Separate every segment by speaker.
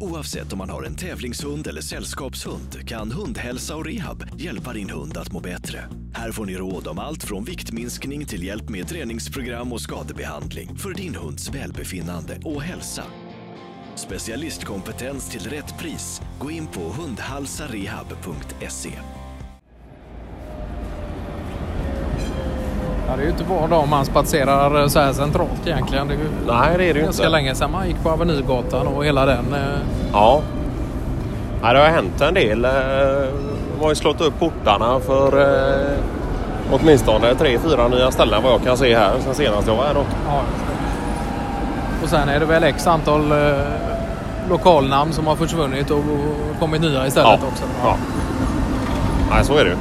Speaker 1: Oavsett om man har en tävlingshund eller sällskapshund kan Hundhälsa och Rehab hjälpa din hund att må bättre. Här får ni råd om allt från viktminskning till hjälp med träningsprogram och skadebehandling för din hunds välbefinnande och hälsa. Specialistkompetens till rätt pris. Gå in på hundhalsarehab.se.
Speaker 2: Ja, det är ju inte var dag man spatserar eh, så här centralt egentligen. Det är ju
Speaker 3: Nej, det är det ju
Speaker 2: ganska
Speaker 3: inte.
Speaker 2: länge sedan man gick på Avenyegatan och hela den. eh,
Speaker 3: Ja. ja. Det har hänt en del. Eh, De har ju slått upp portarna för eh, åtminstone tre, fyra nya ställen vad jag kan se här sen senast jag var här. Då.
Speaker 2: Ja, just det. och sen är det väl x antal eh, lokalnamn som har försvunnit och, och kommit nya istället också.
Speaker 3: Ja. Nej, så är det ju.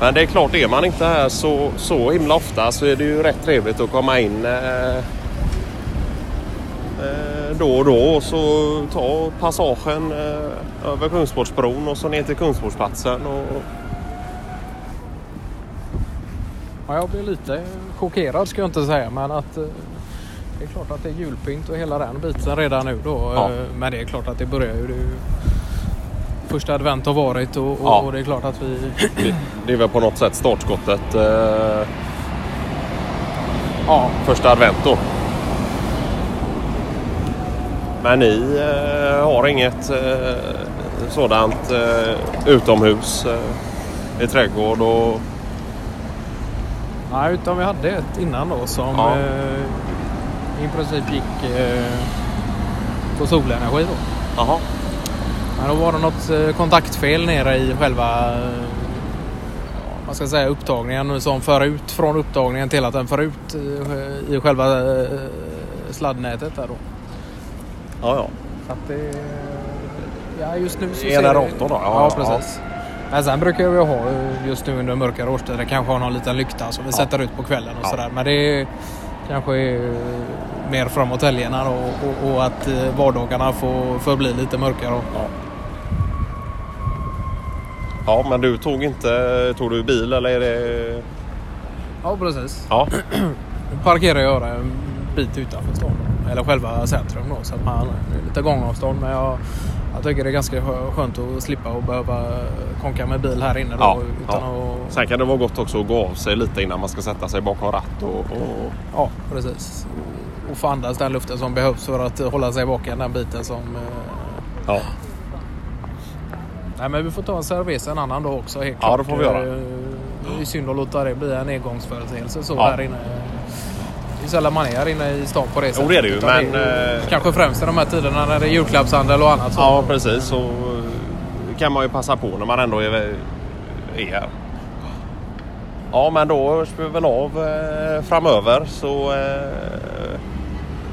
Speaker 3: Men det är klart, är man inte här så, så himla ofta så är det ju rätt trevligt att komma in eh, eh, då och då och så ta passagen eh, över Kungsportsbron och så ner till Kungsportsplatsen. Och,
Speaker 2: Ja, jag blir lite chockerad ska jag inte säga, men att eh, det är klart att det är julpynt och hela den biten redan nu då.
Speaker 3: Ja.
Speaker 2: Eh, Men det är klart att det börjar ju. Det är ju första advent har varit och, och,
Speaker 3: Ja.
Speaker 2: och det är klart att vi...
Speaker 3: Det- Det är väl på något sätt startskottet eh,
Speaker 2: Ja,
Speaker 3: första advent då. Men ni eh, har inget eh, sådant eh, utomhus eh, i trädgård och...
Speaker 2: Nej, utan vi hade ett innan då som
Speaker 3: Ja.
Speaker 2: eh, i princip gick eh, på solenergi då.
Speaker 3: Jaha.
Speaker 2: Men då var det något eh, kontaktfel nere i själva eh, ja, vad ska jag säga, upptagningen som för ut från upptagningen till att den för ut i, i själva eh, sladdnätet där då.
Speaker 3: Ja, ja.
Speaker 2: Så att det... Ja, just nu så
Speaker 3: I
Speaker 2: ser
Speaker 3: ena
Speaker 2: det-
Speaker 3: rotor då?
Speaker 2: Ja,
Speaker 3: Ja,
Speaker 2: precis. Men sen brukar vi ha eh, just nu under mörkare årstider kanske ha någon liten lykta som vi sätter ut på kvällen och
Speaker 3: Ja.
Speaker 2: sådär. Men det är kanske är eh, mer framåt helgerna då, och, och att eh, vardagarna får, får bli lite mörkare. då.
Speaker 3: Ja. Ja, men du tog inte... Tog du bil eller är det...
Speaker 2: Ja, precis.
Speaker 3: Ja.
Speaker 2: Parkerar jag en bit utanför stan. då, Eller själva centrum då. Så att man det är lite gångavstånd. Men jag, jag tycker det är ganska skö- skönt att slippa och behöva konka med bil här inne då.
Speaker 3: Ja,
Speaker 2: Utan
Speaker 3: ja.
Speaker 2: att
Speaker 3: Sen kan det vara gott också att gå av sig lite innan man ska sätta sig bakom ratt och... och...
Speaker 2: Ja, precis. Och få andas den luften som behövs för att hålla sig vaken, den biten som... eh,
Speaker 3: Ja.
Speaker 2: Nej, men vi får ta en cerveza en annan dag också, helt
Speaker 3: Ja,
Speaker 2: klart.
Speaker 3: det får vi göra.
Speaker 2: Eh, Det är synd att låta det bli en engångsföreteelse så
Speaker 3: Ja.
Speaker 2: här inne. Det är sällan man är här inne i stan på det sättet.
Speaker 3: Jo, det är det ju,
Speaker 2: utan
Speaker 3: men,
Speaker 2: ju
Speaker 3: eh,
Speaker 2: Kanske främst i de här tiderna när det är julklappshandel och annat. Så.
Speaker 3: Ja, precis. Så eh, kan man ju passa på när man ändå är, är här. Ja, men då hörs vi väl av eh, framöver så eh,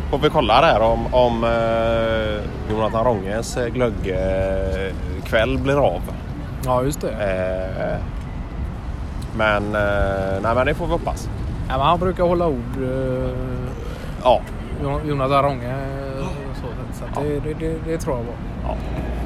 Speaker 3: får vi kolla där om, om eh, Jonathan Ronges eh, glöggkväll blir av.
Speaker 2: ja, just det.
Speaker 3: Eh, men, eh, nej, men det får vi hoppas.
Speaker 2: Ja, men han brukar hålla ord, eh,
Speaker 3: Ja,
Speaker 2: Jon- Jonas Aronge. eh, och Så, så att det, det, det, det tror jag var.
Speaker 3: ja.